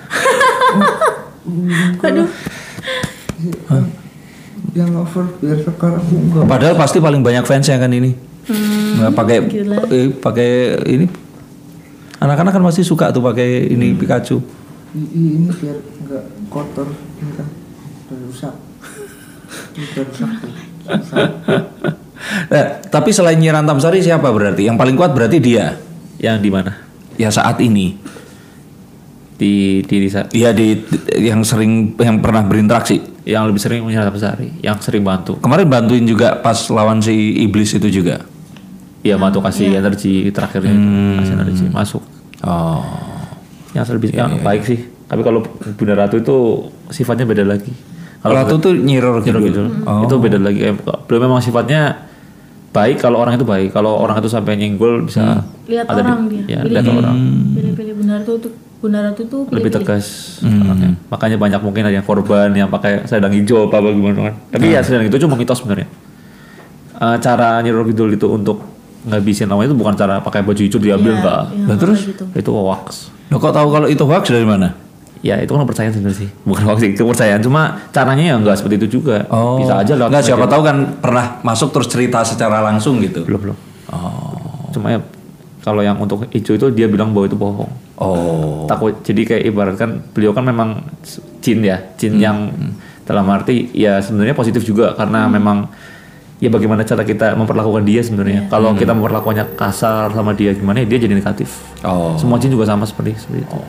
Speaker 3: Aduh.
Speaker 4: yang over biar sekarang aku enggak
Speaker 1: Padahal pasti paling banyak fansnya kan ini. Nggak pakai
Speaker 3: gila.
Speaker 1: eh, pakai ini. Anak-anak kan masih suka tuh pakai ini Pikachu.
Speaker 4: I- i- ini biar enggak kotor ini kan udah rusak Ini udah rusak tuh Rusak.
Speaker 1: Eh, tapi selain Nyi Rantamsari siapa berarti? Yang paling kuat berarti dia.
Speaker 2: Yang di mana?
Speaker 1: Ya saat ini.
Speaker 2: Di di Risa.
Speaker 1: Dia di yang sering yang pernah berinteraksi.
Speaker 2: Yang lebih sering menyerang Sari, yang sering bantu.
Speaker 1: Kemarin bantuin juga pas lawan si iblis itu juga.
Speaker 2: Iya, bantu
Speaker 1: Hmm.
Speaker 2: kasih energi terakhirnya itu, kasih energi masuk.
Speaker 1: Oh.
Speaker 2: Yang lebih
Speaker 1: iya,
Speaker 2: yang baik sih. Tapi kalau Bunda Ratu itu sifatnya beda lagi. Kalau
Speaker 1: Kalau itu tuh nyiror
Speaker 2: Kidul
Speaker 1: gitu.
Speaker 2: Itu beda lagi. Eh, Beliau memang sifatnya baik kalau orang itu baik. Kalau orang itu sampai
Speaker 1: Hmm.
Speaker 2: nyenggol bisa
Speaker 3: Lihat
Speaker 2: ada
Speaker 3: orang
Speaker 2: di,
Speaker 3: dia.
Speaker 2: Ya, lihat orang.
Speaker 3: Pilih-pilih benar tuh tuh benar tuh tuh
Speaker 2: Lebih
Speaker 3: pilih-pilih.
Speaker 2: tegas.
Speaker 1: Hmm.
Speaker 2: orangnya. Makanya banyak mungkin ada yang korban yang pakai sedang hijau apa apa gimana kan. Tapi
Speaker 1: Hmm.
Speaker 2: ya sedang itu cuma mitos sebenarnya. Eh, cara Nyiroro Kidul itu untuk ngabisin lawannya itu bukan cara pakai baju hijau diambil
Speaker 3: Iya,
Speaker 2: enggak.
Speaker 3: iya,
Speaker 1: Lah, terus?
Speaker 3: kayak gitu.
Speaker 2: Itu hoax.
Speaker 1: Lo kok tahu kalau itu hoax dari mana?
Speaker 2: Ya itu kan percayaan sebenarnya sih. Bukan hoax sih, itu percayaan. Cuma caranya ya enggak seperti itu juga. Oh. Bisa aja lewat
Speaker 1: Enggak Oh. siapa
Speaker 2: media.
Speaker 1: tahu kan pernah masuk terus cerita secara langsung gitu.
Speaker 2: Belum belum.
Speaker 1: Oh.
Speaker 2: Cuma ya kalau yang untuk hijau itu dia bilang bahwa itu bohong.
Speaker 1: Oh.
Speaker 2: Takut jadi kayak ibaratkan beliau kan memang Jin ya, Jin
Speaker 1: Hmm.
Speaker 2: yang dalam arti ya sebenarnya positif juga karena
Speaker 1: Hmm.
Speaker 2: memang ya bagaimana cara kita memperlakukan dia
Speaker 1: Iya.
Speaker 2: sebenarnya.
Speaker 1: Hmm.
Speaker 2: Kalau kita memperlakukannya kasar sama dia gimana ya dia jadi negatif.
Speaker 1: Oh.
Speaker 2: Semua Jin juga sama seperti seperti itu.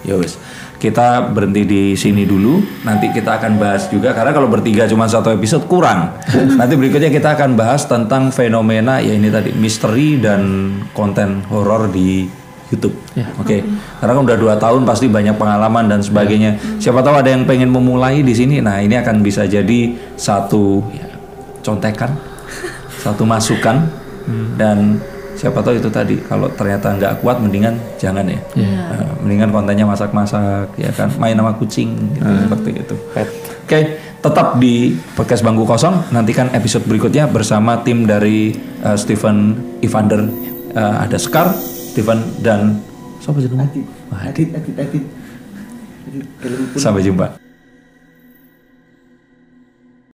Speaker 1: Ya wes. Kita berhenti di sini dulu. Nanti kita akan bahas juga karena kalau bertiga cuma satu episode kurang. Nanti berikutnya kita akan bahas tentang fenomena ya ini tadi misteri dan konten horor di YouTube. Oke. Karena kan udah dua tahun pasti banyak pengalaman dan sebagainya. Siapa tahu ada yang pengen memulai di sini. Nah ini akan bisa jadi satu ya, contekan, satu masukan dan siapa tahu itu tadi kalau ternyata nggak kuat mendingan jangan ya. Nah, mendingan kontennya masak-masak ya kan, main sama kucing gitu seperti itu. Oke, tetap di podcast Bangku Kosong. Nantikan episode berikutnya bersama tim dari eh, Steven Evander Eh, ada Scar, Steven dan siapa jenengnya?
Speaker 4: adit adit adit adit Dalam
Speaker 1: Sampai jumpa.